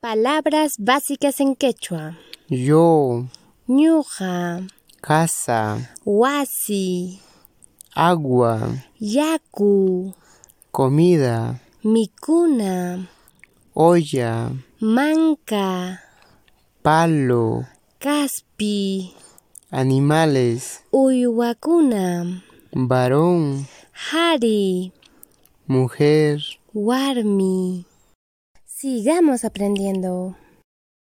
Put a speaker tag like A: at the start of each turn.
A: Palabras básicas en quechua.
B: yo,
A: Ñuja,
B: casa,
A: huasi,
B: agua,
A: yaku,
B: comida,
A: mikuna,
B: olla,
A: manca,
B: palo,
A: caspi,
B: animales,
A: uyuwakuna,
B: varón,
A: hari,
B: mujer.
A: warmi. Sigamos aprendiendo.